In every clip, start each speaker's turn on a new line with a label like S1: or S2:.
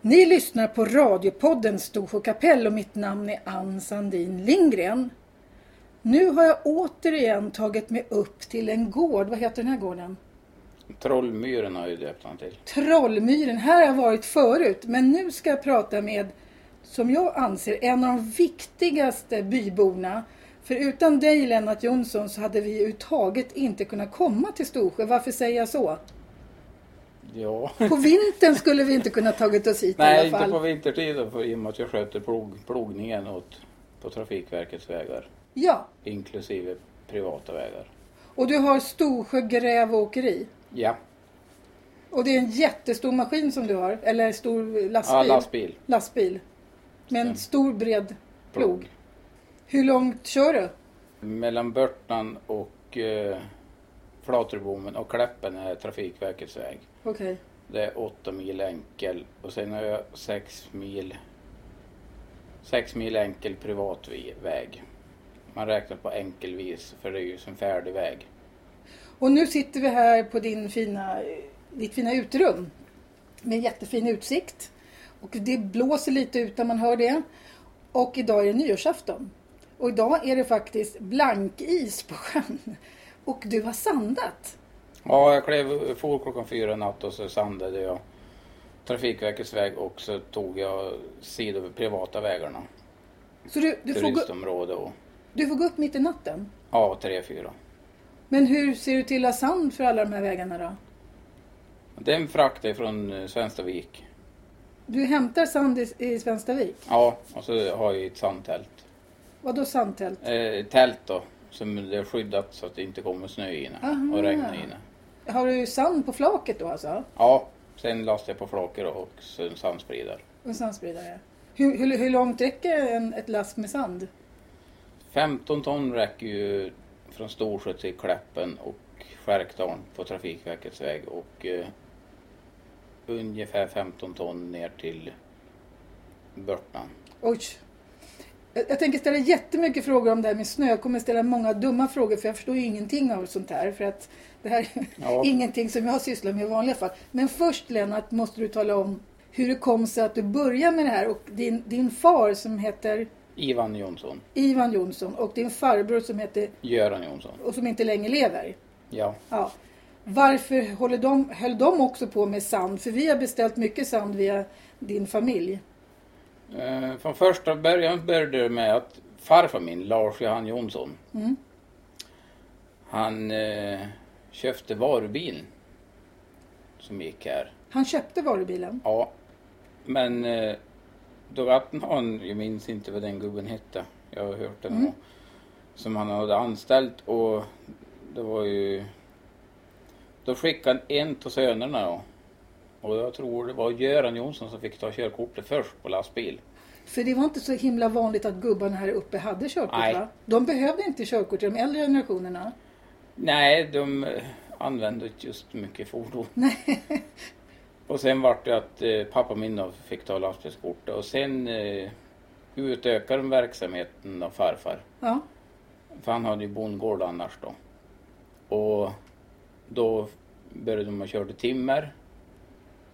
S1: Ni lyssnar på radiopodden Storsjö kapell och mitt namn är Ann Sandin Lindgren. Nu har jag återigen tagit mig upp till en gård. Vad heter den här gården?
S2: Trollmyren har ju döpt han till.
S1: Trollmyren. Här har jag varit förut, men nu ska jag prata med, som jag anser, en av de viktigaste byborna. För utan dig, Lennart Jonsson, så hade vi överhuvudtaget inte kunnat komma till Storsjö. Varför säger jag så?
S2: Ja.
S1: På vintern skulle vi inte kunnat tagit oss hit
S2: Nej,
S1: i alla
S2: inte
S1: fall.
S2: på vintertid då, för i och med att jag sköter plog, plogningen åt, på Trafikverkets vägar.
S1: Ja,
S2: Inklusive privata vägar.
S1: och du har Storsjö gräv och åkeri.
S2: Ja,
S1: Och det är en jättestor maskin som du har, eller stor lastbil.
S2: ja lastbil.
S1: lastbil. Med en
S2: Stämmer.
S1: stor bred plog. Hur långt kör du?
S2: Mellan Börtan och eh, Flatrubommen och Kläppen är Trafikverkets väg.
S1: Okej.
S2: Det är åtta mil enkel och sen har jag sex mil, sex mil enkel privat vi- väg. Man räknar på enkelvis för det är ju en färdig väg.
S1: Och nu sitter vi här på din fina, ditt fina utrum. Med jättefin utsikt. Och det blåser lite ut när man hör det. Och idag är det nyårsafton. Och idag är det faktiskt blankis på sjön. Och du har sandat.
S2: Ja, jag klev, for klockan fyra i natt och så sandade jag Trafikverkets väg och så tog jag sidor privata vägarna.
S1: Så du, du, får gå,
S2: Turistområde och
S1: du får gå upp mitt i natten.
S2: ja, tre, fyra.
S1: Men hur ser du till att ha sand för alla de här vägarna då?
S2: Den fraktade från eh, Svenstavik.
S1: Du hämtar sand i, i Svenstavik?
S2: Ja, och så har jag ett sandtält.
S1: Vadå sandtält?
S2: eh, tält då. Som det är skyddat så att det inte kommer snö in
S1: Aha.
S2: och regn in.
S1: Har du sand på flaket då alltså?
S2: Ja, sen lastar jag på flaker och sen sandspridare.
S1: Och en sandspridare? Hur, hur, hur långt räcker en, ett last med sand?
S2: 15 ton räcker ju från Storsjö till Kläppen och Skärkdalen på Trafikverkets väg och eh, ungefär 15 ton ner till Börtnan.
S1: Oj! Jag, jag tänker ställa jättemycket frågor om det här med snö. Jag kommer ställa många dumma frågor för jag förstår ju ingenting av sånt här. För att det här är
S2: Ja.
S1: ingenting som jag sysslar med i vanliga fall. Men först Lennart måste du tala om hur det kom sig att du började med det här och din, din far som heter
S2: Ivan Jonsson,
S1: Ivan Jonsson och din farbror som heter
S2: Göran Jonsson.
S1: och som inte längre lever.
S2: Ja,
S1: Ja. Varför håller de, höll de också på med sand? För vi har beställt mycket sand via din familj.
S2: Eh, Från första början började det med att farfar min, Lars Johan Jonsson,
S1: Mm.
S2: han eh, köpte varubilen som gick här.
S1: Han köpte varubilen.
S2: Ja, men eh, då vart någon, jag minns inte vad den gubben hette, jag har hört den mm. som han hade anställt och det var ju, då skickade han en av sönerna då. Och jag tror det var Göran Jonsson som fick ta körkortet först på lastbil.
S1: För det var inte så himla vanligt att gubbarna här uppe hade körkort
S2: Nej.
S1: va? De behövde inte körkort i de äldre generationerna.
S2: Nej, de eh, använde inte just mycket fordon.
S1: Nej.
S2: Och sen vart det att eh, pappa min då fick ta lastbilskortet och sen eh, utökade de verksamheten av farfar.
S1: Ja.
S2: För han hade ju bondgård annars då. Och då började de att köra timmer.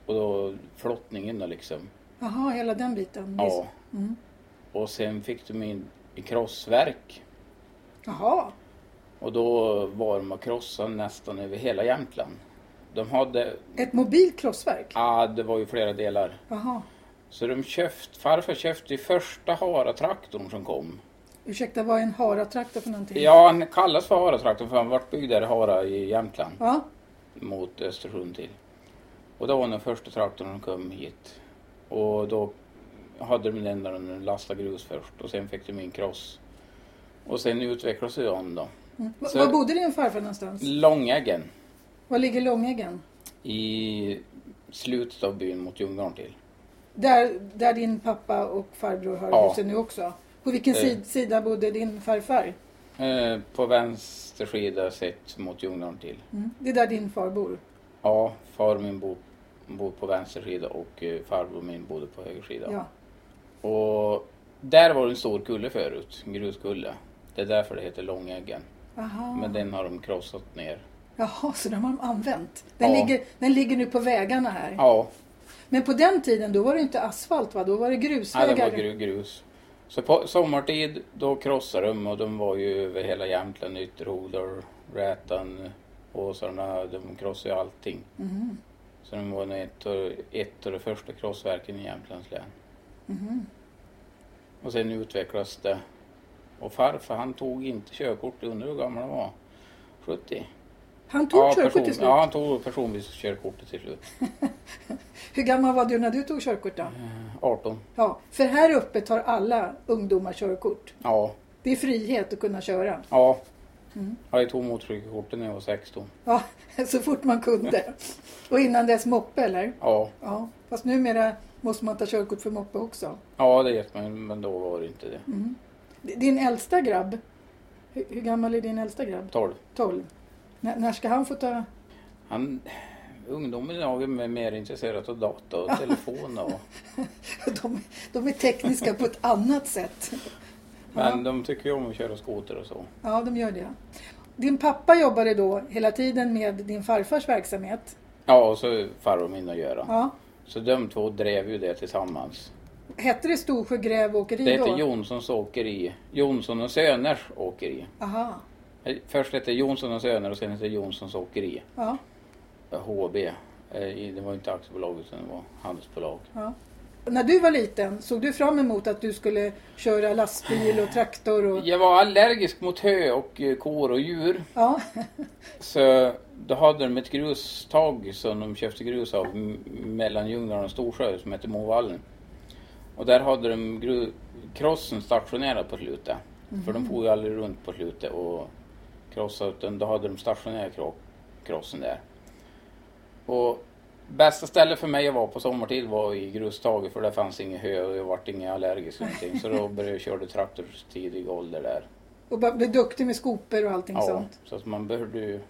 S2: Och då flottningen då liksom.
S1: Jaha, hela den biten.
S2: Ja.
S1: Mm.
S2: Och sen fick de in i krossverk.
S1: Jaha.
S2: Och då var de och krossade nästan över hela Jämtland. De hade,
S1: Ett mobilt krossverk?
S2: ah, det var ju flera delar.
S1: Jaha.
S2: Så de köpt, farfar köpte ju första haratraktorn som kom.
S1: Ursäkta, vad är en haratraktor för någonting?
S2: Ja, han kallas för haratraktorn för han vart byggd där i Hara i Jämtland.
S1: Ja.
S2: mot Östersund till. Och då var den första traktorn som kom hit. Och då hade de den där de lastade grus först och sen fick de in kross. Och sen utvecklades det om då.
S1: Mm. Va-
S2: Så-
S1: Var bodde din farfar någonstans?
S2: Långäggen
S1: Var ligger Långäggen?
S2: i slutet av byn mot Ljungdalen till.
S1: Där, där din pappa och farbror har
S2: Ja.
S1: husen nu också? På vilken
S2: Eh.
S1: sid, sida bodde din farfar?
S2: Eh, på vänster sida sett mot Ljungdalen till.
S1: Mm. Det är där din far bor.
S2: Ja, far min bor bor på vänster sida och eh, farbror min bodde på höger sida.
S1: Ja.
S2: Och där var det en stor kulle förut, en gruskulle. Det är därför det heter Långäggen.
S1: Aha.
S2: Men den har de krossat ner.
S1: Jaha, så den har de använt. Den,
S2: Ja.
S1: ligger, den ligger nu på vägarna här.
S2: Ja,
S1: Men på den tiden då var det inte asfalt va? Då var det
S2: Nej,
S1: grusvägar.
S2: det var gru- grus. Så på sommartid då krossade de och de var ju över hela Jämtland, Ytterhogdal, Rätan, Åsarna. De krossade ju allting.
S1: Mhm.
S2: Så de var nog ett av, ett av de första krossverken i Jämtlands län.
S1: Mhm.
S2: Och sen utvecklades det. Och farfar han tog inte körkort, jag undrar hur gammal han var? 70?
S1: Han tog körkort
S2: person-
S1: till slut.
S2: Ja, han tog personbilskörkortet till slut.
S1: Hur gammal var du när du tog körkort då?
S2: 18.
S1: Ja, för här uppe tar alla ungdomar körkort.
S2: Ja,
S1: Det är frihet att kunna köra.
S2: ja.
S1: Mm.
S2: Ja, Jag tog motorcykelkortet när jag var 16.
S1: Ja, så fort man kunde. Och innan dess moppe eller?
S2: Ja,
S1: Ja, fast numera måste man ta körkort för moppe också.
S2: ja det vet man men då var det inte det.
S1: Mm. Din äldsta grabb, hur, hur gammal är din äldsta grabb?
S2: 12.
S1: 12. N- när ska han få ta...
S2: Han, ungdomen idag är mer intresserad av data och telefon och
S1: De, de är tekniska på ett annat sätt.
S2: Men de tycker ju om att köra skoter och så.
S1: Ja, de gör det. Din pappa jobbade då hela tiden med din farfars verksamhet.
S2: Ja, och så farbror min och Göran.
S1: Ja.
S2: Så de två drev ju det tillsammans.
S1: Hette det Storsjö Gräv Åkeri
S2: Det hette
S1: då?
S2: Jonssons åkeri. Jonsson och Söners åkeri. Eh,
S1: Aha.
S2: Först hette Jonsson och Söner och sen hette Jonssons åkeri.
S1: Ja,
S2: HB. Eh, i- Det var inte aktiebolag utan det var handelsbolag.
S1: ja. När du var liten, såg du fram emot att du skulle köra lastbil och traktor? Och...
S2: Jag var allergisk mot hö och eh, kor och djur.
S1: Ja.
S2: Så då hade de ett grustag som de köpte grus av m- mellan Ljungdalen och Storsjö som hette Movallen. Och där hade de gru- krossen stationerad på slutet. För de for ju aldrig runt på slutet och krossade utan då hade de stationerat kro- krossen där. Och bästa stället för mig att vara på sommartid var i grustaget för där fanns ingen hö och jag vart ingen allergisk eller någonting. Så då började jag köra traktor tidig ålder där.
S1: Och bara bli duktig med skopor och allting
S2: Ja,
S1: sånt.
S2: så att man behövde ju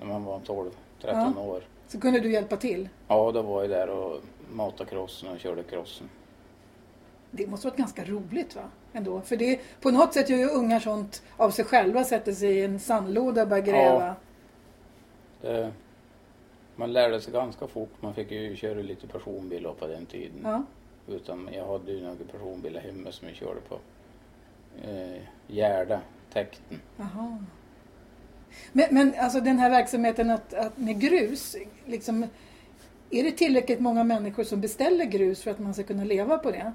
S2: när man var 12, 13
S1: Ja.
S2: år.
S1: Så kunde du hjälpa till.
S2: Ja, då var jag där och matade crossen och körde crossen.
S1: Det måste varit ganska roligt va? Ändå. För det, på något sätt gör ju ungar sånt av sig själva, sätter sig i en sandlåda och börjar gräva.
S2: Ja. Det, man lärde sig ganska fort. Man fick ju köra lite personbil då på den tiden.
S1: Ja.
S2: Utan jag hade ju några personbilar hemma som jag körde på eh, Gärda, täkten.
S1: Aha. Men, men alltså den här verksamheten att, att med grus, liksom, är det tillräckligt många människor som beställer grus för att man ska kunna leva på det?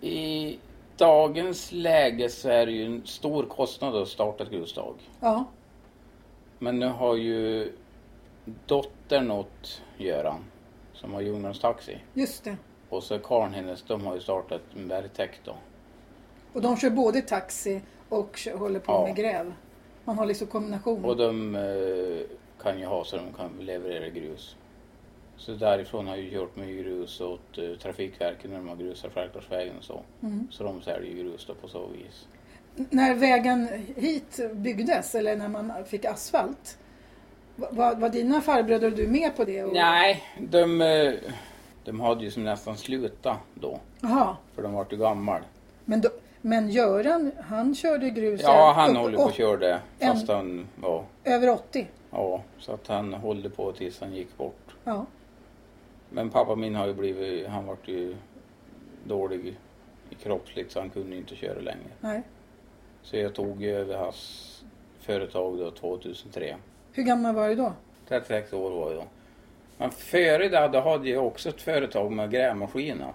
S2: I dagens läge så är det ju en stor kostnad att starta ett grusdag.
S1: Ja,
S2: Men nu har ju dottern åt Göran som har Ljungdals Taxi
S1: just det.
S2: och så karln hennes, de har ju startat en bergtäkt då.
S1: Och de kör både taxi och kö- håller på
S2: Ja.
S1: med gräv. Man har liksom kombination.
S2: Och de eh, kan ju ha så de kan leverera grus. Så därifrån har ju gjort mycket grus åt eh, Trafikverket när de har grusat Skärgårdsvägen och så.
S1: Mm.
S2: Så de säljer ju grus då på så vis.
S1: N- När vägen hit byggdes, eller när man fick asfalt, va- va- var dina farbröder och du med på det? Och...
S2: Nej, de, eh, de hade ju som nästan slutat då.
S1: Jaha.
S2: För de vart ju gammal.
S1: Men, då, men Göran, han körde grus
S2: Ja, han
S1: upp-
S2: håller på
S1: upp-
S2: och kör det. Fast
S1: en-
S2: han var
S1: över 80.
S2: Ja, så att han håller på tills han gick bort.
S1: Ja.
S2: Men pappa min har ju blivit, han vart ju dålig i kroppsligt så han kunde ju inte köra längre.
S1: Nej.
S2: Så jag tog ju över hans företag då 2003.
S1: Hur gammal var du då?
S2: 36 år var jag då. Men före det då hade jag också ett företag med grävmaskiner.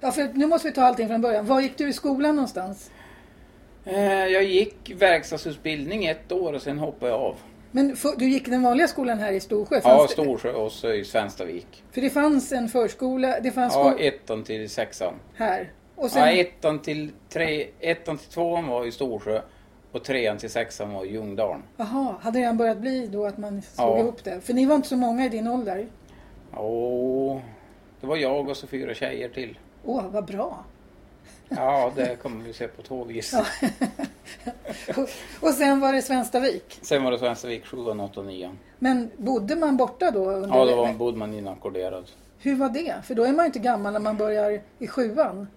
S1: Ja, för nu måste vi ta allting från början. Var gick du i skolan någonstans?
S2: Eh, Jag gick verkstadsutbildning ett år och sen hoppade jag av.
S1: Men för, du gick den vanliga skolan här i Storsjö?
S2: Ja,
S1: det-
S2: Storsjö och så i Svenstavik.
S1: För det fanns en förskola, det fanns
S2: Ja,
S1: sko-
S2: ettan till sexan.
S1: här. Och sen,
S2: Ja, ettan till, tre, ettan till tvåan var i Storsjö och trean till sexan var i Ljungdalen.
S1: aha, hade det redan börjat bli då att man slog
S2: Ja.
S1: ihop det? För ni var inte så många i din ålder.
S2: Åh, det var jag och så fyra tjejer till.
S1: Åh, vad bra!
S2: Ja, det kommer vi se på två vis.
S1: Ja. Och, och sen var det Svenstavik.
S2: Sen var det Svenstavik 7, 8 och 9.
S1: Men bodde man borta då? Under
S2: Ja, då var, bodde man inackorderad.
S1: Hur var det? För då är man ju inte gammal när man börjar i sjuan.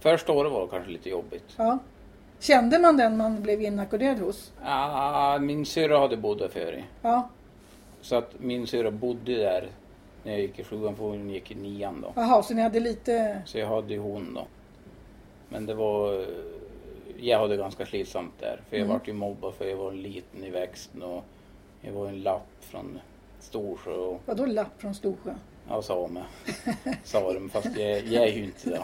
S2: Första året var det kanske lite jobbigt.
S1: Ja. Kände man den man blev inackorderad hos?
S2: Ah, min syrra hade bott där förut.
S1: Ja.
S2: Så att min syrra bodde där när jag gick i sjuan för hon gick i nian då.
S1: Jaha, så ni hade lite...
S2: Så jag hade ju hon då. Men det var... eh, Jag hade ganska slitsamt där. För jag
S1: Mm.
S2: vart ju mobbad för jag var liten i växten och jag var en lapp från Storsjö och
S1: Vadå lapp från Storsjö?
S2: ja, same. Sarem, fast jag, jag är ju inte det.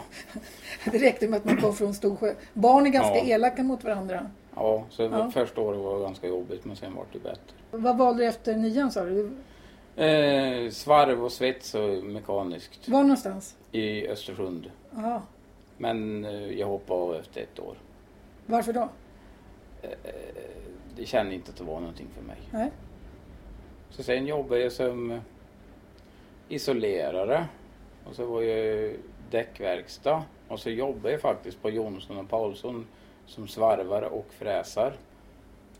S1: Det räckte med att man kom från Storsjö. Barn är ganska
S2: Ja.
S1: elaka mot varandra.
S2: Ja, så
S1: Ja.
S2: första året var ganska jobbigt men sen vart det bättre.
S1: Vad valde du efter nian sa du?
S2: Eh, svarv och svets och mekaniskt
S1: Var någonstans?
S2: i Östersund.
S1: Aha.
S2: Men eh, jag hoppade av efter ett år.
S1: Varför då?
S2: Eh, Det kände inte att det var någonting för mig.
S1: Nej.
S2: Så sen jobbade jag som isolerare och så var jag däckverkstad och så jobbade jag faktiskt på Jonsson och Paulsson som svarvare och fräsar.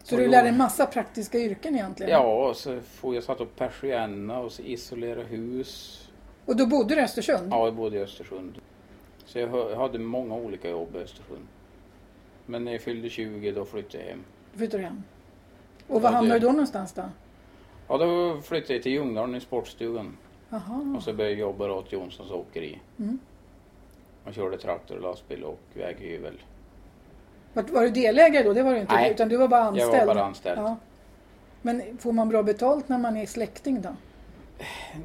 S1: Så
S2: Och
S1: du
S2: då-
S1: lärde en massa praktiska yrken egentligen?
S2: Ja, och så får jag satt upp persienner och så isolera hus.
S1: Och då bodde du i Östersund?
S2: Ja, jag bodde i Östersund. Så jag hö- hade många olika jobb i Östersund. Men när jag fyllde 20 då flyttade jag hem.
S1: Då flyttade du hem. Och
S2: Ja,
S1: var
S2: det-
S1: hamnade du då någonstans då?
S2: Ja, då flyttade jag till Ljungdalen i sportstugan.
S1: Jaha.
S2: Och så började jag jobba då åt Jonssons åkeri.
S1: Mm.
S2: Man körde traktor, lastbil och väghyvel.
S1: Var, var du delägare då? Det var du inte?
S2: Nej.
S1: Utan du var bara
S2: Jag
S1: anställd?
S2: var bara anställd.
S1: Ja. Men får man bra betalt när man är släkting då?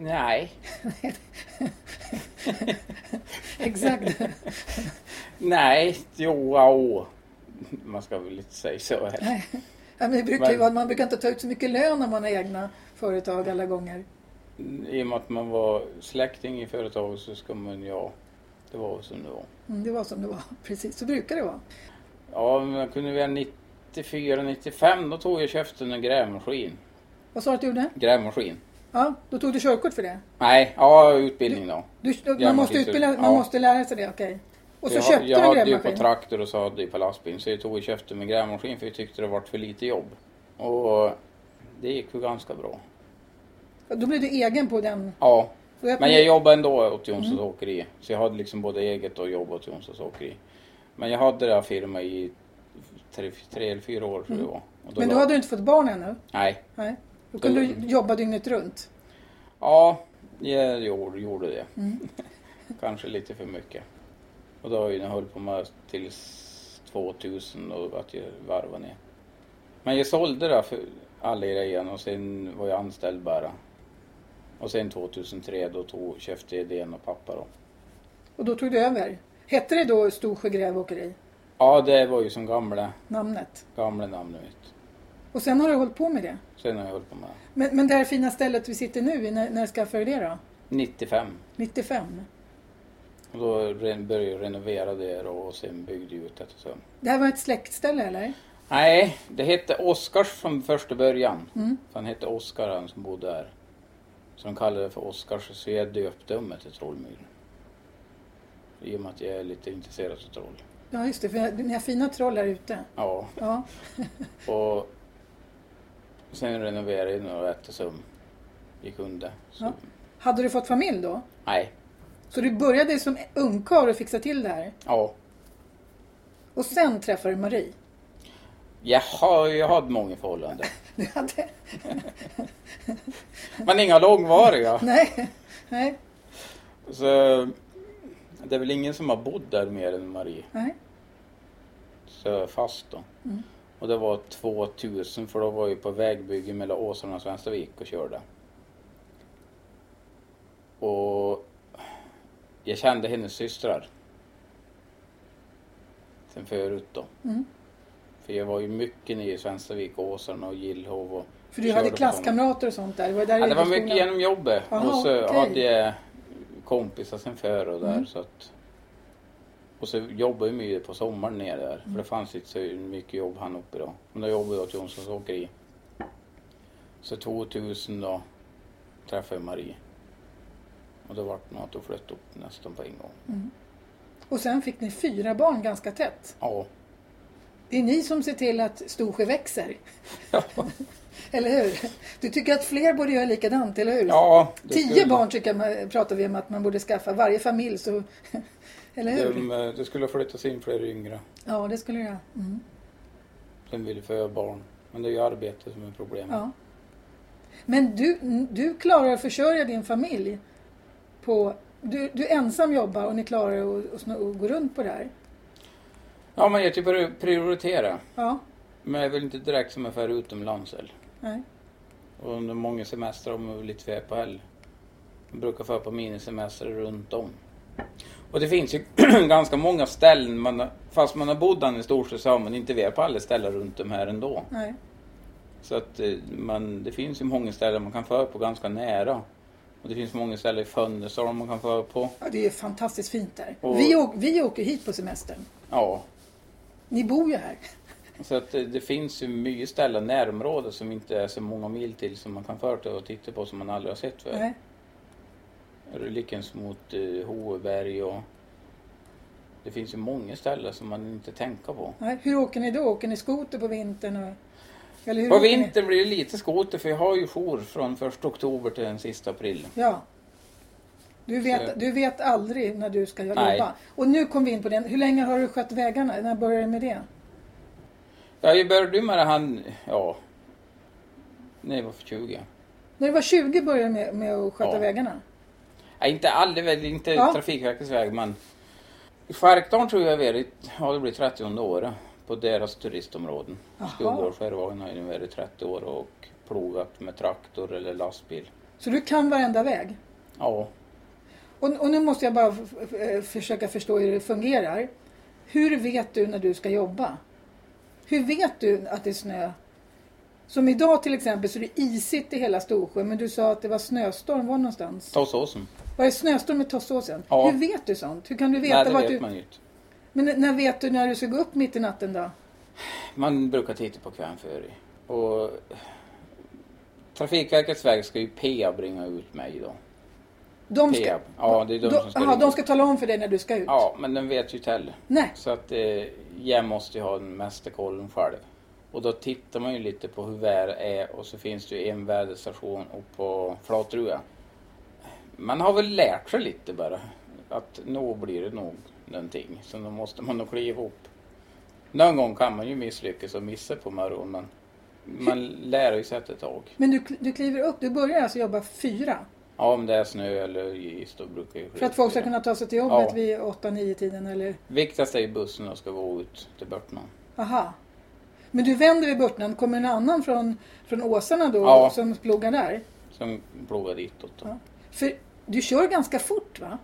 S2: Nej,
S1: Exakt.
S2: nej, jo, au. Man ska väl inte säga så här.
S1: Nej. Ja, men det brukar ju
S2: Men-
S1: vara- man brukar inte ta ut så mycket lön när man har egna företag alla gånger.
S2: I och med att man var släkting i företaget så ska man, ja, det var som det var.
S1: Mm, det var som det var. Precis, så brukar det vara.
S2: Ja, men jag kunde väl 94, 95, då tog jag köpte en grävmaskin.
S1: Vad sa du att du gjorde?
S2: Grävmaskin?
S1: Ja, då tog du körkort för det?
S2: Nej, ja, utbildning då.
S1: Du,
S2: Ja,
S1: man,
S2: men
S1: måste
S2: precis.
S1: utbilda, man
S2: Ja.
S1: måste lära sig det, okej. Och så
S2: jag,
S1: köpte
S2: jag
S1: du en
S2: hade ju på
S1: grävmaskin?
S2: traktor och så hade jag på lastbil. Så jag tog och köpte mig en grävmaskin för jag tyckte det var för lite jobb. Och det gick ju ganska bra.
S1: Ja, Då blev du egen på den?
S2: Ja,
S1: Då öppnade-
S2: men jag jobbade ändå åt Jonssons
S1: Mm.
S2: åkeri. Så jag hade liksom både eget och jobb åt Jonssons åkeri. Men jag hade den här firman i tre, tre eller fyra år tror jag det var. Och
S1: Mm. men då
S2: la-
S1: hade du inte fått barn ännu?
S2: Nej.
S1: Nej. Då kunde
S2: Då-
S1: du jobba dygnet runt?
S2: Ja, jag gjorde, gjorde det. Kanske lite för mycket. Och då har jag höll på med tills 2000 och att jag varvade ner. Men jag sålde det för alla grejerna och sen var jag anställd bara. Och sen 2003 då tog, köpte jag idén och pappa då.
S1: Och då tog du över? Hette det då Storsjö grävåkeri?
S2: Ja, det var ju som gamla,
S1: Namnet?
S2: gamla namnet mitt.
S1: Och sen har du hållit på med det?
S2: Sen har jag hållit på med det.
S1: Men, men det här fina stället vi sitter nu i, när, när skaffade du det då?
S2: 95.
S1: 95?
S2: Och då re- började jag renovera det då och sen byggde jag ut det. och Så.
S1: Det här var ett släktställe eller?
S2: Nej, det hette Oscars från första början.
S1: Mm.
S2: För Han hette Oskar han som bodde där. Så de kallade det för Oskars så jag döpte om det till Trollmyren. I och med att jag är lite intresserad av troll.
S1: Ja just det, för ni har fina troll här ute.
S2: Ja,
S1: Ja.
S2: och sen renoverade jag några eftersom vi kunde. Så,
S1: Ja. Hade du fått familj då?
S2: Nej,
S1: Så du började som ungkarl och fixa till det här?
S2: ja.
S1: Och sen träffade du Marie?
S2: Jag har jag hade många förhållanden.
S1: Du hade...
S2: Men inga långvariga.
S1: Nej. Nej.
S2: Så det är väl ingen som har bott där mer än Marie.
S1: Nej.
S2: så fast då. Och det var 2000 för då var jag på vägbygge mellan Åsarna och Svenstavik och körde. Och jag kände hennes systrar. Sen förut då.
S1: Mm.
S2: För jag var ju mycket nere i Svenstavik och Åsarna och Gillhov och
S1: För du hade
S2: körde på sådana.
S1: klasskamrater och sånt där? Det var, där
S2: Ja, det var
S1: i skolan.
S2: mycket genom jobbet.
S1: Jaha,
S2: och så
S1: okej.
S2: hade jag kompisar sen före och där.
S1: Mm.
S2: Så att, och så jobbade jag mycket på sommaren nere där. För det fanns inte så mycket jobb här uppe då. Men då jobbade jag åt Jonssons Åkeri. Så 2000 då träffade jag Marie. Och då vart det nog att hon flyttade upp nästan på en gång.
S1: Mm. Och sen fick ni fyra barn ganska tätt.
S2: Ja.
S1: Det är ni som ser till att Storsjö växer.
S2: Ja,
S1: Eller hur? Du tycker att fler borde göra likadant, eller hur?
S2: ja det
S1: Tio
S2: skulle-
S1: barn tycker jag man, pratar vi om att man borde skaffa. Varje familj så... Eller hur?
S2: De, eh, det skulle flyttas in fler yngre.
S1: Ja, det skulle jag. Mm.
S2: Sen ville föda barn. Men det är ju arbetet som är problemet.
S1: Ja. Men du, du klarar att försörja din familj på... Du, du ensam jobbar och ni klarar att- att snå- att gå runt på det här.
S2: Ja, man ger till pri- prioritera.
S1: Ja.
S2: Men jag vill inte direkt som affär utomlands eller.
S1: Nej.
S2: Och under många semestrar har man väl lite tvär på heller. Man brukar få på minisemestrar runt om. Och det finns ju ganska många ställen, man, har- fast man har bott där i storstad så har man inte varit på alla ställen runt om här ändå.
S1: Nej.
S2: Så att eh, man, det finns ju många ställen man kan få på ganska nära. Och det finns många ställen i Fönnesholm man kan få på.
S1: Ja, det är fantastiskt fint där.
S2: Och-
S1: Vi, åk, vi åker hit på semestern.
S2: Ja,
S1: Ni bor ju här.
S2: så att eh, det finns ju mycket ställen närområdet som inte är så många mil till som man kan få till och titta på som man aldrig har sett förut.
S1: Nej.
S2: Lyckens mot eh, Hoveberg och... Det finns ju många ställen som man inte tänker på.
S1: Nej. Hur åker ni då? Åker ni skoter på vintern? Och, eller hur
S2: På
S1: åker ni?
S2: vintern blir det lite skoter för jag har ju jour från 1 oktober till den sista april.
S1: Ja. Du
S2: Så-
S1: vet, du vet aldrig när du ska jobba.
S2: Nej.
S1: Och nu kom vi in på den. Hur länge har du skött vägarna? När började du med det?
S2: Jag började ju med det han, ja... När jag var 20.
S1: När du var 20 började du med, med att sköta
S2: Ja.
S1: vägarna?
S2: Nej, inte aldrig, väl, inte
S1: Ja.
S2: Trafikverkets väg men... I Skärkdalen tror jag jag varit, ja det blir 30 året på deras turistområden.
S1: Jaha.
S2: Skogårdsskärgården har ju varit 30 år och plogat med traktor eller lastbil.
S1: Så du kan varenda väg?
S2: Ja,
S1: Och, och nu måste jag bara f- f- eh, försöka förstå hur det fungerar. Hur vet du när du ska jobba? Hur vet du att det är snö? Som idag till exempel så är det isigt i hela Storsjön men du sa att det var snöstorm. Var någonstans?
S2: Tåssåsen.
S1: Var det snöstorm i Tossåsen?
S2: Ja.
S1: Hur vet du sånt? Hur kan du veta
S2: Nej, det
S1: vart
S2: vet
S1: du...
S2: man ju inte.
S1: Men n- när vet du när du ska gå upp mitt i natten då?
S2: Man brukar titta på kvällen före. Och Trafikverkets väg ska ju Peab ringa ut mig då.
S1: De
S2: Peab. Ja, det är de, som ska
S1: aha,
S2: ringa.
S1: de ska tala om för dig när du ska ut?
S2: Ja, men den vet ju inte heller.
S1: Nej.
S2: Så att eh, jag måste ju ha den mesta kollen själv. Och då tittar man ju lite på hur vädret är och så finns det ju en väderstation uppe på Flatruga. Man har väl lärt sig lite bara att nå blir det nog någonting. Så då måste man nog kliva upp. Någon gång kan man ju misslyckas och missa på morgonen men man lär ju sig efter ett tag.
S1: Men du, kl- du kliver upp, du börjar alltså jobba fyra?
S2: Ja, om det är snö eller is då brukar jag ju
S1: För att folk ska kunna ta sig till jobbet
S2: Ja.
S1: vid åtta, nio tiden eller?
S2: Viktigast är ju bussen och ska gå ut till Börtnan.
S1: Aha. Men du vänder vid Burtnan, kommer en annan från, från Åsarna då
S2: Ja.
S1: som plogar där?
S2: Som plogar ditåt då.
S1: Ja. För du kör ganska fort va?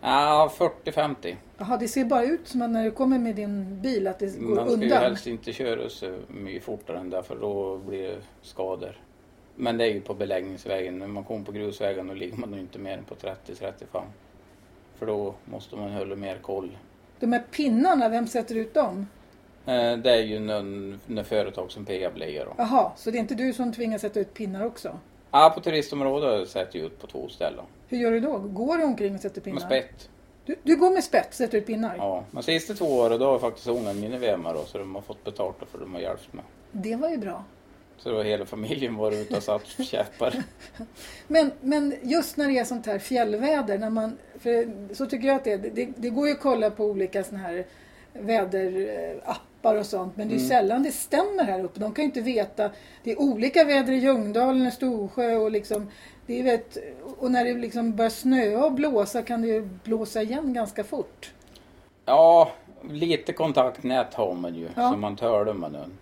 S2: Ja, 40-50.
S1: Jaha, det ser bara ut som att när du kommer med din bil att det går
S2: Man ska ju
S1: undan.
S2: helst inte köra så mycket fortare än det för då blir det skador. Men det är ju på beläggningsvägen. När man kommer på grusvägen då ligger man nog inte mer än på 30-35. För då måste man hålla mer koll.
S1: De här pinnarna, vem sätter ut dem?
S2: Eh, Det är ju någon, någon företag som Peab lägger då.
S1: Jaha, så det är inte du som tvingas sätta ut pinnar också?
S2: Ja, på turistområdet har jag sett ut på två ställen.
S1: Hur gör du då? Går du omkring och sätter
S2: Med
S1: pinnar?
S2: spett.
S1: Du, du går med spett, sätter ut pinnar?
S2: Ja. Men sista två åren då har jag faktiskt ångat mina vemmar då så de har fått betalt då, för de har hjälpt mig.
S1: Det var ju bra.
S2: Så då har hela familjen varit ute och satt käppar.
S1: Men, men just när det är sånt här fjällväder, när man, för så tycker jag att det är. Det, det går ju att kolla på olika såna här väderappar och sånt men det är
S2: Mm.
S1: ju sällan det stämmer här uppe. De kan ju inte veta. Det är olika väder i Ljungdalen och Storsjö och liksom det är vet, och när det liksom börjar snöa och blåsa kan det ju blåsa igen ganska fort.
S2: Ja, lite kontaktnät har man ju
S1: Ja.
S2: som man talar med någon.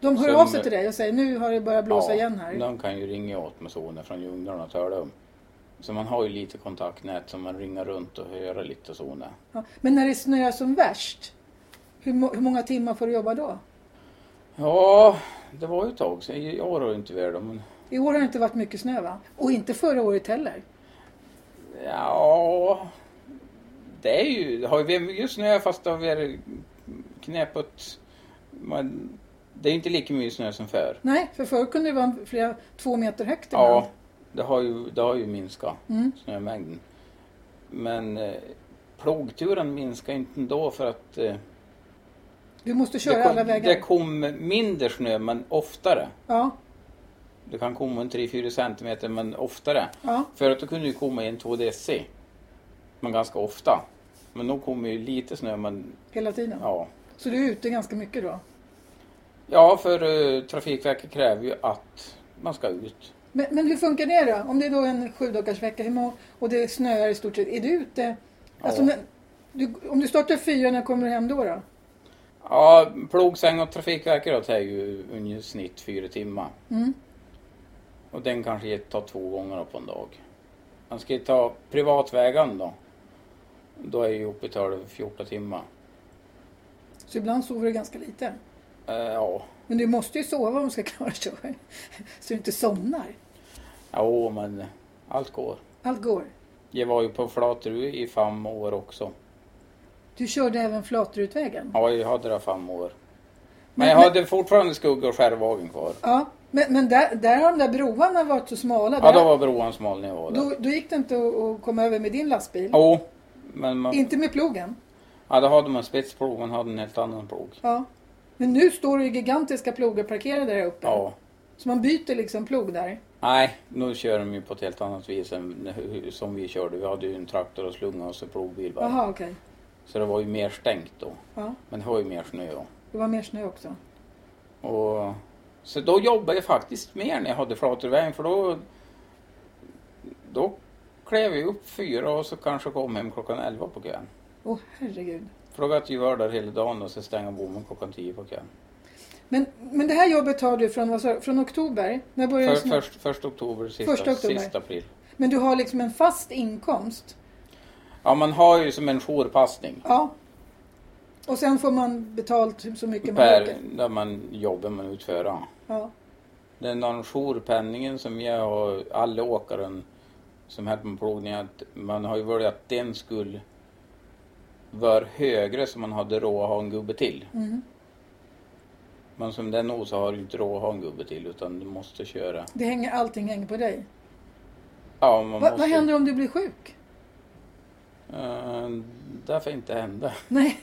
S1: De hör
S2: Som-
S1: av sig till dig och säger nu har det börjat blåsa
S2: ja,
S1: igen här.
S2: De kan ju ringa åt med sonen från Ljungdalen och tala om. Så man har ju lite kontaktnät som man ringer runt och höra lite sonen.
S1: Ja. Men när det snöar som värst, hur, må- hur många timmar får du jobba då?
S2: Ja, det var ju ett tag sedan. I år har det inte varit det, men
S1: I år har det inte varit mycket snö va? Och inte förra året heller.
S2: ja. Det är ju, det har ju varit mycket snö fast det har varit knepigt. Man, det är ju inte lika mycket snö som förr.
S1: Nej, för förr kunde det vara flera två meter högt ibland.
S2: Ja, det har ju, det har ju minskat,
S1: Mm.
S2: snömängden. Men eh, plogturen minskar inte ändå för att eh,
S1: Du måste köra
S2: det, kom,
S1: alla vägar.
S2: det kom mindre snö men oftare.
S1: Ja,
S2: Det kan komma en 3-4 centimeter men oftare.
S1: ja.
S2: Förut då kunde det komma en 2 dc. Men ganska ofta. Men nu kommer ju lite snö men
S1: Hela tiden.
S2: ja.
S1: Så du är ute ganska mycket då?
S2: Ja för eh, Trafikverket kräver ju att man ska ut.
S1: Men, men hur funkar det då? Om det är då en sju dagars vecka hur många- och det snöar i stort sett. Är du ute? Alltså,
S2: Ja.
S1: när, du, om du startar fyra, när kommer du hem då? då?
S2: Ja, plogsäng och Trafikverket tar ju ungefär snitt fyra timmar.
S1: Mm.
S2: Och den kanske tar två gånger på en dag. Man ska ju ta privatvägen då. Då är ju uppe i 14 timmar.
S1: Så ibland sover du ganska lite.
S2: Eh, ja,
S1: Men du måste ju sova om du ska klara sig. Så du inte somnar.
S2: jo men allt går.
S1: Allt går.
S2: Jag var ju på Flatru i fem år också.
S1: Du körde även Flaterutvägen?
S2: Ja, jag hade det fem år.
S1: Men-
S2: Men jag hade fortfarande skugg och skärvagen kvar.
S1: Ja, men, men där, där har de där broarna varit så smala.
S2: Ja,
S1: Där-
S2: då var broan smal när jag var där.
S1: då, då gick det inte att, att komma över med din lastbil.
S2: Jo, men man,
S1: Inte med plogen.
S2: ja, då hade man spetsplogen, man hade en helt annan plog.
S1: Ja. Men nu står det ju gigantiska plogar parkerade där uppe.
S2: Ja.
S1: Så man byter liksom plog där.
S2: Nej, nu kör de ju på ett helt annat vis än hur- som vi körde. Vi hade ju en traktor och slunga och så plogbil bara.
S1: Jaha, okej.
S2: Så det var ju mer stängt då.
S1: Ja,
S2: Men det var ju mer snö då.
S1: det var mer snö också.
S2: Och, så då jobbade jag faktiskt mer när jag hade flatorvägen för då, då klev jag upp fyra och så kanske kom hem klockan elva på kvällen.
S1: Åh, herregud.
S2: För då var jag vara där hela dagen och så stänga bommen klockan tio på kvällen.
S1: Men, men det här jobbet har du från, vad sa du, från oktober? När började du
S2: För,
S1: snö?
S2: först, första oktober, sista,
S1: Första oktober.
S2: sista april.
S1: Men du har liksom en fast inkomst?
S2: Ja, man har ju som en jourpassning.
S1: Ja. Och sen får man betalt så mycket man
S2: Per,
S1: orkar?
S2: där man jobbar man utför.
S1: Ja.
S2: Den där jourpenningen som jag och alla åkaren som hade med plogning, att man har ju varit att den skulle vara högre så man hade råd att ha en gubbe till.
S1: Mm.
S2: Men som den nog så har du inte råd att ha en gubbe till utan du måste köra.
S1: Det hänger, allting hänger på dig.
S2: Ja, man
S1: Va,
S2: måste.
S1: Vad händer om du blir sjuk?
S2: Eh, det får inte hända.
S1: Nej.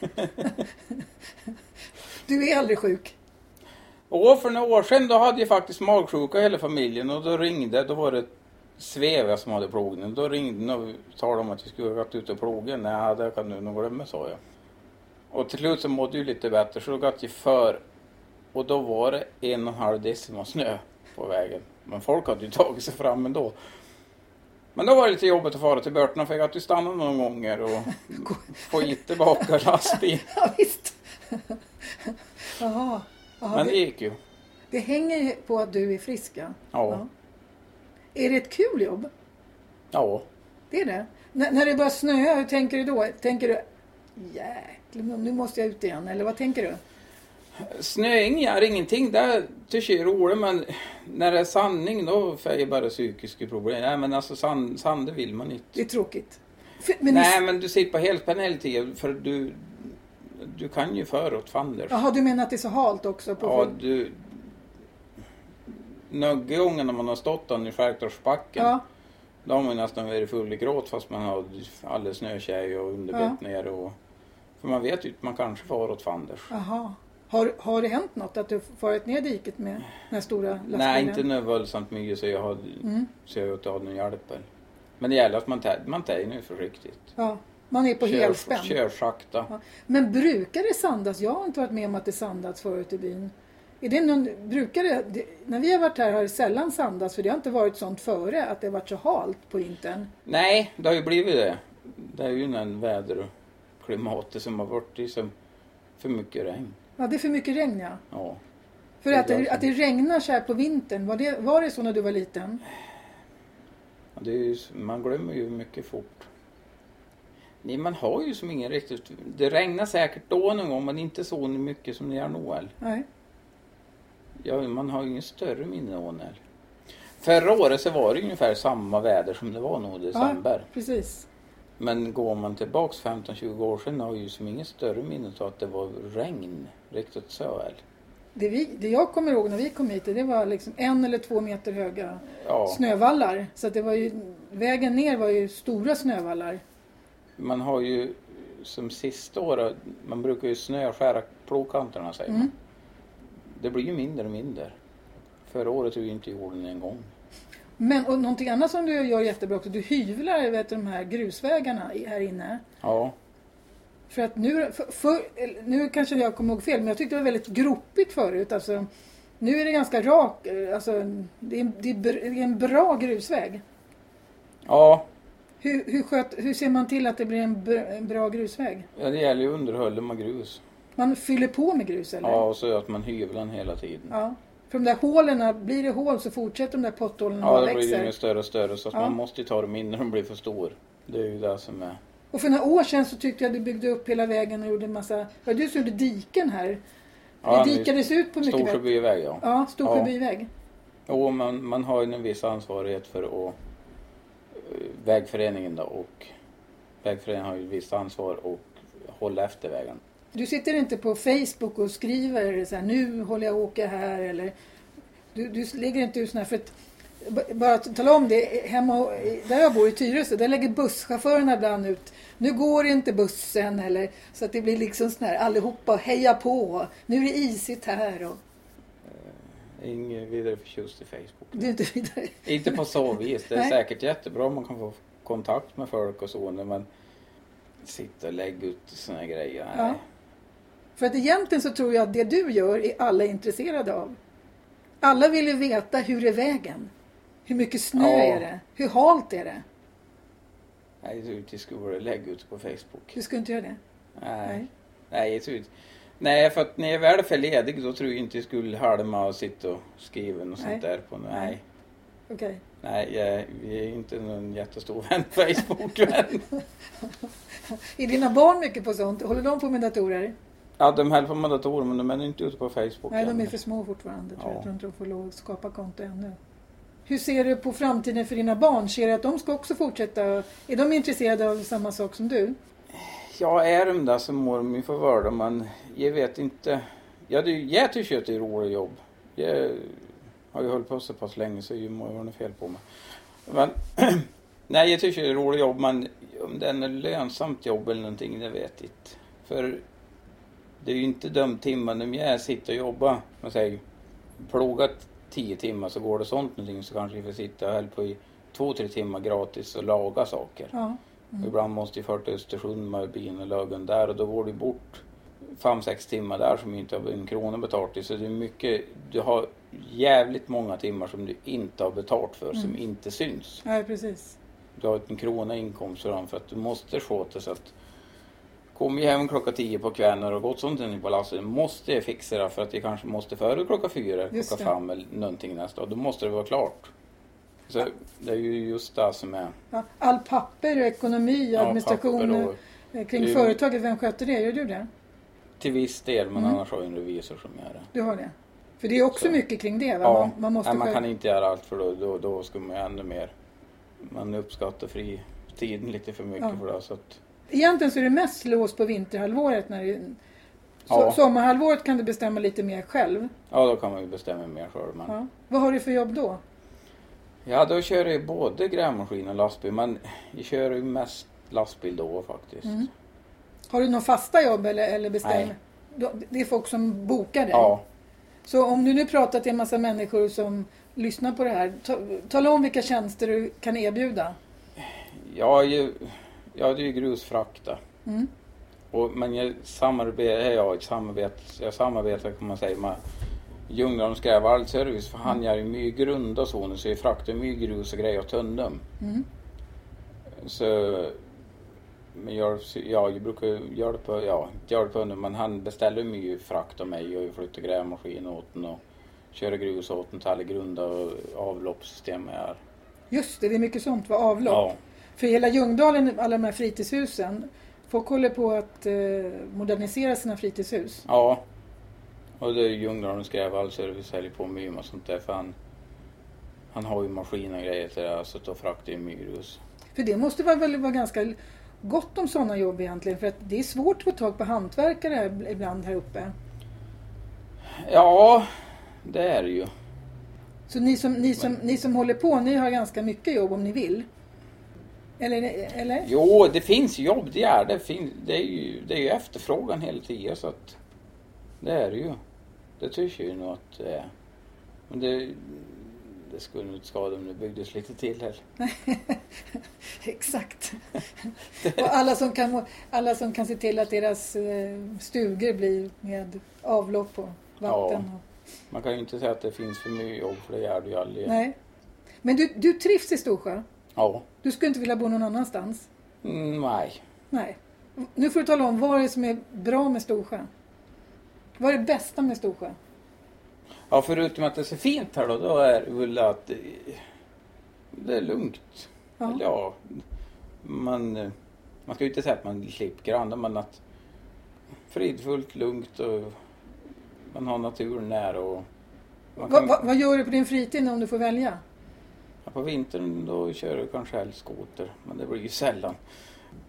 S1: du är aldrig sjuk.
S2: Och för några år sedan då hade jag faktiskt magsjuka hela familjen och då ringde, då var det Svevia som hade plogningen. Då ringde de och talade om att jag skulle varit ute och ploga. Nej, det kan du nog glömma, sa jag. Och till slut så mådde jag lite bättre så då gav jag för och då var det en och en halv decimal snö på vägen. Men folk hade ju tagit sig fram ändå. Men då var det lite jobbigt att fara till Börtna för jag hade ju stannat några gånger och få hit tillbaka lastbil.
S1: Ja, visst. Jaha. Jaha,
S2: Men det
S1: det,
S2: gick ju.
S1: det hänger ju på att du är frisk. Ja.
S2: Ja.
S1: Är det ett kul jobb?
S2: Ja.
S1: Det är det. N- när det börjar snöa, hur tänker du då? Tänker du jäklar, nu måste jag ut igen? Eller vad tänker du?
S2: Snöing är ingenting, det tycker jag är roligt men när det är sanning då får jag bara psykiska problem. Nej men alltså sand, sande vill man inte.
S1: Det är tråkigt. För, men
S2: Nej
S1: ni,
S2: men du sitter på helspänn hela tiden för du, du kan ju förut fanders.
S1: jaha, du menar att det är så halt också? På
S2: Ja du... Några gånger när man har stått där i skärgårdsbacken
S1: ja.
S2: då har man ju nästan varit full i gråt fast man har alldeles snötjej och underbett ner och... För man vet ju att man kanske far åt fanders.
S1: Jaha. Har, har det hänt något att du farit ner diket med den här stora lastbilen?
S2: Nej inte nu våldsamt mycket så jag har
S1: Mm.
S2: Så jag åt av den hjälper. Men det gäller att man tar, man tar nu försiktigt.
S1: Ja, man är på
S2: Kör,
S1: helspänn.
S2: kör sakta.
S1: Ja. Men brukar det sandas? Jag har inte varit med om att det sandats förut i byn. Är det någon, brukar det, det, när vi har varit här har det sällan sandats för det har inte varit sånt före att det har varit så halt på vintern.
S2: Nej, det har ju blivit det. Det är ju den väder och klimatet som har varit det är som för mycket regn.
S1: Ja, det är för mycket regn ja.
S2: Ja.
S1: För
S2: Det är
S1: att det,
S2: därför.
S1: att det regnar så här på vintern, var det, var det så när du var liten?
S2: Och Det är ju, man glömmer ju mycket fort. Nej, man har ju som ingen riktigt... Det regnar säkert då någon gång men inte så mycket som det gör nu. eller?
S1: Nej.
S2: Ja, man har ju ingen större minne av det. Förra året så var det ungefär samma väder som det var nu i december.
S1: Ja, precis.
S2: Men går man tillbaks 15-20 år sedan har jag ju som inget större minne av att det var regn riktigt så väl.
S1: Det, vi, det jag kommer ihåg när vi kom hit, det var liksom en eller två meter höga
S2: Ja,
S1: snövallar. Så att det var ju, vägen ner var ju stora snövallar.
S2: man har ju som sista året, man brukar ju snöskära plogkanterna säger man.
S1: Mm.
S2: Det blir ju mindre och mindre. Förra året har vi inte gjort den en gång.
S1: Men och någonting annat som du gör jättebra också, du hyvlar vet, du, de här grusvägarna i- här inne.
S2: Ja,
S1: För att nu, för, för, eller nu kanske jag kommer ihåg fel, men jag tyckte det var väldigt gropigt förut. Alltså, Nu är det ganska rak, eh, alltså det är, en- det är br- det är en bra grusväg.
S2: Ja,
S1: Hur, hur, sköt, hur ser man till att det blir en, br- en bra grusväg?
S2: ja, det gäller ju underhållet med grus.
S1: Man fyller på med grus eller?
S2: Ja, och så att man hyvlar den hela tiden.
S1: Ja. För de där hålen, blir det hål så fortsätter de där potthålen
S2: Ja,
S1: att
S2: det blir ju
S1: växer.
S2: större och större så att
S1: Ja.
S2: man måste ju ta dem innan de blir för stora. Det är ju det som är...
S1: Och för några år sedan så tyckte jag att du byggde upp hela vägen och gjorde en massa... Ja, du som gjorde diken här.
S2: Ja,
S1: det dikades ut på mycket bättre...
S2: Storsjöbyväg, ja.
S1: Ja, Storsjöbyväg.
S2: Jo, man, man har ju en viss ansvarighet för att... eh, Vägföreningen då och... Vägföreningen har ju ett visst ansvar och hålla efter vägen.
S1: Du sitter inte på Facebook och skriver så här, nu håller jag och åker här eller du, du lägger inte ut såna här för att b- bara att tala om det, hemma och- där jag bor i Tyresö, där lägger busschaufförerna ibland ut nu går inte bussen eller så att det blir liksom sån här allihopa heja på, nu är det isigt här och
S2: Ingen vidare förtjust i Facebook.
S1: det är inte vidare.
S2: Inte på så vis. Det är
S1: Nej.
S2: säkert jättebra om man kan få kontakt med folk och så men sitta och lägga ut såna grejer. Nej.
S1: Ja. För att egentligen så tror jag att det du gör är alla intresserade av. Alla vill ju veta hur är vägen? Hur mycket snö
S2: Ja.
S1: är det? Hur halt är det?
S2: Nej, det är ute i skolan. Lägg ut på Facebook.
S1: Du skulle inte göra det?
S2: Nej.
S1: Nej.
S2: Nej, det är ut. Nej, för att när jag väl är för ledig då tror jag inte jag skulle halma och sitta och skriva och
S1: Nej.
S2: sånt där på. Nej.
S1: Okej.
S2: Nej, jag, vi är inte någon jättestor vän Facebook-vän.
S1: Är dina barn mycket på sånt? Håller de på med datorer?
S2: ja, de höll på med datorer men de är inte ute på Facebook
S1: Nej, de är
S2: än.
S1: för små fortfarande. Tror
S2: Ja.
S1: jag. jag tror inte de får lov att skapa konto ännu. Hur ser du på framtiden för dina barn? Ser du att de ska också fortsätta? Är de intresserade av samma sak som du?
S2: Ja, är de där så mår de ju för värda, men jag vet inte. Ja, det, jag tycker att det är roligt jobb. Jag har ju hållit på så pass länge så jag må ju vara något fel på mig. Men, nej, jag tycker det är roligt jobb, men om det är något lönsamt jobb eller någonting, det vet jag inte. För det är ju inte de timmarna om jag sitter och jobbar, man säger, plogat tio timmar så går det sånt någonting så kanske jag får sitta och hålla på i två, tre timmar gratis och laga saker.
S1: Ja. Mm.
S2: Och Ibland måste jag föra till Östersund med bilen och lagen där och då går det bort fem sex timmar där som inte har en krona betalt i. Så det är mycket, du har jävligt många timmar som du inte har betalt för,
S1: Mm.
S2: som inte syns.
S1: Nej, precis.
S2: Du har en krona inkomst för dem för att du måste sköta så att Kommer jag hem klockan tio på kvällen och det har gått sånt in på lasset, då måste jag fixa det för att jag kanske måste före klockan fyra,
S1: Just
S2: klockan
S1: det.
S2: fem eller någonting nästa dag. Då måste det vara klart. Så det är ju just det som är
S1: Ja. All papper och ekonomi
S2: ja,
S1: och
S2: papper
S1: administration
S2: och-
S1: eh, kring
S2: Mm.
S1: företaget, vem sköter det? Gör du det?
S2: Till viss del, men
S1: Mm.
S2: annars har jag en revisor som gör det.
S1: Du har det? För det är också
S2: Så.
S1: mycket kring det, va?
S2: Ja,
S1: Man, man måste
S2: nej, man
S1: sköta-
S2: kan inte göra allt för då, då, då skulle man ju ännu mer. Man uppskattar fri tiden lite för mycket
S1: Ja.
S2: för det. Så att,
S1: Egentligen så är det mest slås på vinterhalvåret. När det... Så,
S2: Ja.
S1: Sommarhalvåret kan du bestämma lite mer själv.
S2: ja, då kan man ju bestämma mer själv. Men, ja.
S1: Ja. Vad har du för jobb då?
S2: då kör jag ju både grävmaskin och lastbil, men jag kör ju mest lastbil då faktiskt.
S1: Mm. Har du några fasta jobb eller, eller bestämmer?
S2: Nej.
S1: Då- Det är folk som bokar dig.
S2: Ja,
S1: Så om du nu pratar till en massa människor som lyssnar på det här. Ta, tala om vilka tjänster du kan erbjuda.
S2: jag är ju, jag är ju grusfrakta.
S1: Mm.
S2: Och, men jag samarbetar, jag, samarbet, jag samarbetar kan man säga med Ljungdahls grävallservice för han gör ju mycket grund och sånt så jag fraktar mycket grus och grejer åt honom.
S1: Mm.
S2: Så men jag, ja, jag brukar ju hjälpa, ja, inte hjälpa honom men han beställer mycket frakt av mig och jag flyttar grävmaskin åt honom och kör grus åt honom till alla grunda och avloppssystem jag har.
S1: Just det, det är mycket sånt. Vad avlopp.
S2: Ja,
S1: För hela Ljungdalen, alla de här fritidshusen. Folk håller på att eh, modernisera sina fritidshus.
S2: ja. Och det är ju Ljungdahls grävallservice säljer på mycket med sånt där för han, han har ju maskin och grejer till det här, så då fraktar jag mycket grus.
S1: För det måste vara- väl vara ganska gott om sådana jobb egentligen. För att det är svårt att få tag på hantverkare här ibland här uppe.
S2: Ja, det är det ju.
S1: Så ni som, ni som, ni som håller på, ni har ganska mycket jobb om ni vill? Eller? eller?
S2: Jo, det finns jobb, det är det. Fin- Det är ju, det är ju efterfrågan hela tiden så att det är det ju. Det tycker jag nog att det är. Men det, det skulle nog inte skada om det byggdes lite till här.
S1: Exakt. Och alla som, kan, alla som kan se till att deras eh, stugor blir med avlopp och vatten.
S2: Ja.
S1: Och,
S2: Man kan ju inte säga att det finns för mycket jobb för det gör det ju aldrig.
S1: Nej. Men du, du trivs i Storsjö?
S2: Ja.
S1: Du skulle inte vilja bo någon annanstans?
S2: Mm, nej.
S1: Nej. Nu får du tala om vad det är som är bra med Storsjö. Vad är det bästa med Storsjö?
S2: Ja, förutom att det är så fint här då, då är det väl att det- det är lugnt.
S1: Ja.
S2: Eller ja, man, eh, man ska ju inte säga att man slipper grannar, men att fridfullt, lugnt och man har naturen nära och man
S1: Va,
S2: kan,
S1: va, vad gör du på din fritid om du får välja?
S2: Ja, på vintern då kör jag kanske helst skoter, men det blir ju sällan.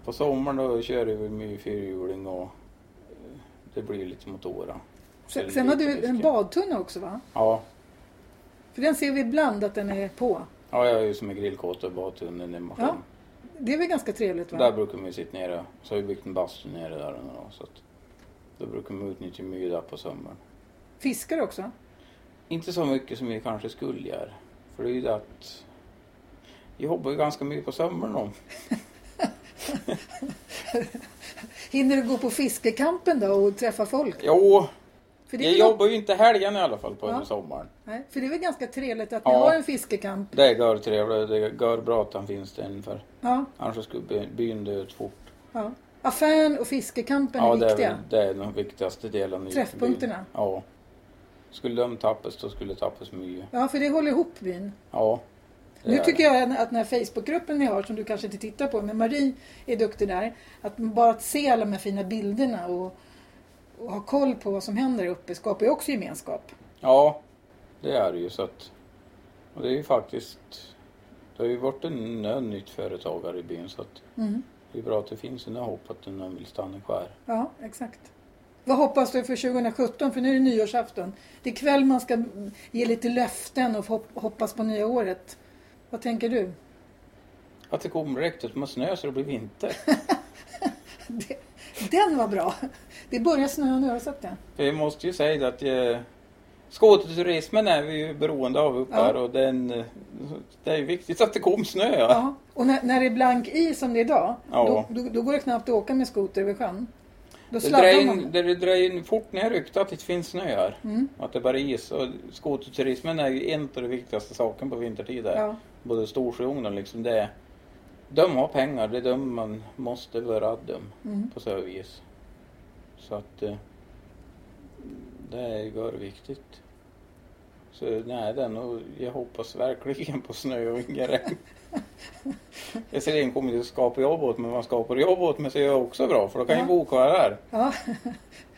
S2: På sommaren då kör jag väl mycket fyrhjuling och eh, det blir ju lite mot åra.
S1: Sen,
S2: Eller
S1: sen har
S2: lite
S1: du en
S2: fiske.
S1: badtunna också va?
S2: Ja,
S1: För den ser vi ibland att den är på.
S2: ja jag är ju som en grillkåta och badtunneln i maskin.
S1: Ja. Det är väl ganska trevligt
S2: Där
S1: va?
S2: brukar man ju sitta nere. Så har vi byggt en bastu nere där och då, så att då brukar man utnyttja mycket där på sommaren.
S1: Fiskar också?
S2: Inte så mycket som vi kanske skulle göra. För det är ju det att jag jobbar ju ganska mycket på sommaren då.
S1: Hinner du gå på fiskekampen då och träffa folk?
S2: Jo,
S1: För det är
S2: jag
S1: väl något-
S2: jobbar ju inte helgen i alla fall på
S1: Ja.
S2: ja. sommaren.
S1: Nej, för det är väl ganska trevligt att ni
S2: Ja.
S1: har en fiskekamp?
S2: Det är görtrevligt. Det är görbra att han finns där för
S1: Ja,
S2: annars så skulle by- byn dö ut fort.
S1: ja. Affären och fiskekampen
S2: ja,
S1: är
S2: det är,
S1: viktiga.
S2: väl- det är den viktigaste delen. i
S1: Träffpunkterna.
S2: byn. Ja. Skulle de tappas, då skulle det tappas mycket.
S1: Ja, för det håller ihop byn.
S2: Ja. det
S1: Nu
S2: är
S1: tycker
S2: det.
S1: jag att den här Facebookgruppen ni har, som du kanske inte tittar på, men Marie är duktig där. Att bara att se alla de här fina bilderna och, och ha koll på vad som händer där uppe skapar ju också gemenskap.
S2: Ja, det är det ju. Så att, och det är ju faktiskt... Det har ju varit en, en nytt företagare i byn så att
S1: Mm.
S2: det är bra att det finns en hopp att någon vill stanna kvar.
S1: Ja, exakt. Vad hoppas du för 2017? För nu är det nyårsafton. Det är kväll man ska ge lite löften och hop- hoppas på nya året. Vad tänker du?
S2: Att det kommer riktigt med snö så det blir vinter.
S1: Det- Den var bra. Det börjar snöa nu, har du sett det?
S2: För jag måste ju säga det att eh, skoterturismen är vi ju beroende av uppe
S1: Ja.
S2: här och den, eh, det är ju viktigt att det kom snö. Ja.
S1: Ja. Och när, när det är blank is som det är idag,
S2: Ja.
S1: då, då, då går det knappt att åka med skoter över sjön. Då
S2: Det drar
S1: sladdar
S2: in,
S1: man.
S2: det drar in fort när jag ryckte att det inte finns snö här.
S1: Mm.
S2: Att det bara är is. Och skoterturismen är ju en av de viktigaste sakerna på vintertid. här.
S1: Ja.
S2: både Storsjöodlarna liksom det är de har pengar, det är de man måste vara rädd om
S1: Mm.
S2: på så vis. Så att eh, det är ju bara viktigt. Så nej, den och jag hoppas verkligen på snö och inga regn. Jag ser ingen kommer att skapa jobb åt mig, men man skapar jobb åt mig så är jag också bra för då kan
S1: Ja.
S2: jag bo kvar här.
S1: Ja.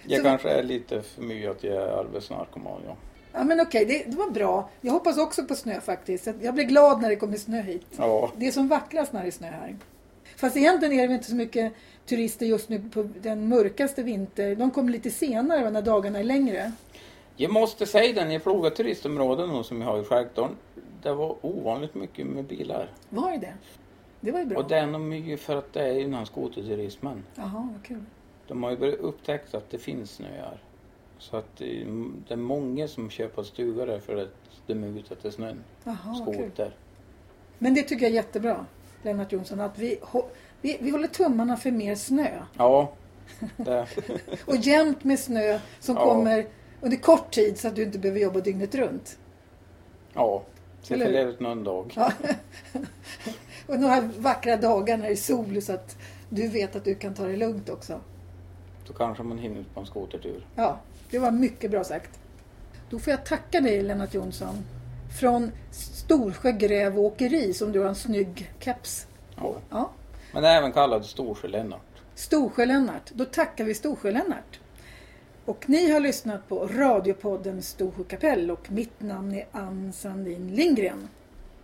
S2: Jag
S1: Så-
S2: kanske är lite för mycket att jag är arbetsnarkoman. Ja.
S1: ja, men okej, det, det var bra. Jag hoppas också på snö faktiskt. Jag blir glad när det kommer snö hit.
S2: ja.
S1: Det är som vackrast när det är snö här. Fast egentligen är det väl inte så mycket turister just nu på den mörkaste vinter. De kommer lite senare va, när dagarna är längre.
S2: Jag måste säga den, jag plogade turistområden nu som jag har i skärgården. Det var ovanligt mycket med bilar.
S1: Var är det? Det var ju bra.
S2: Och det är nog mycket för att det är ju den här skoterturismen.
S1: Jaha, vad kul.
S2: De har ju börjat upptäckt att det finns snöar. Så att det är- det är många som köper stugor där för att de är ute efter snön.
S1: Jaha, vad kul.
S2: Skoter.
S1: Men det tycker jag är jättebra, Lennart Jonsson, att vi, hå- vi, vi håller tummarna för mer snö.
S2: Ja. Det.
S1: Och jämnt med snö som
S2: Ja.
S1: kommer under kort tid så att du inte behöver jobba dygnet runt.
S2: Ja. Så
S1: Eller hur?
S2: ledigt någon dag.
S1: Ja. och några vackra dagar när det är sol så att du vet att du kan ta det lugnt också.
S2: Då kanske man hinner ut på en skotertur.
S1: Ja, det var mycket bra sagt. Då får jag tacka dig Lennart Jonsson från Storsjö Gräv och Åkeri som du har en snygg keps.
S2: Ja.
S1: Ja.
S2: Men även kallad Storsjö-Lennart.
S1: Storsjö-Lennart. Då tackar vi Storsjö-Lennart. Och ni har lyssnat på radiopodden Storsjö kapell och mitt namn är Ann Sandin Lindgren.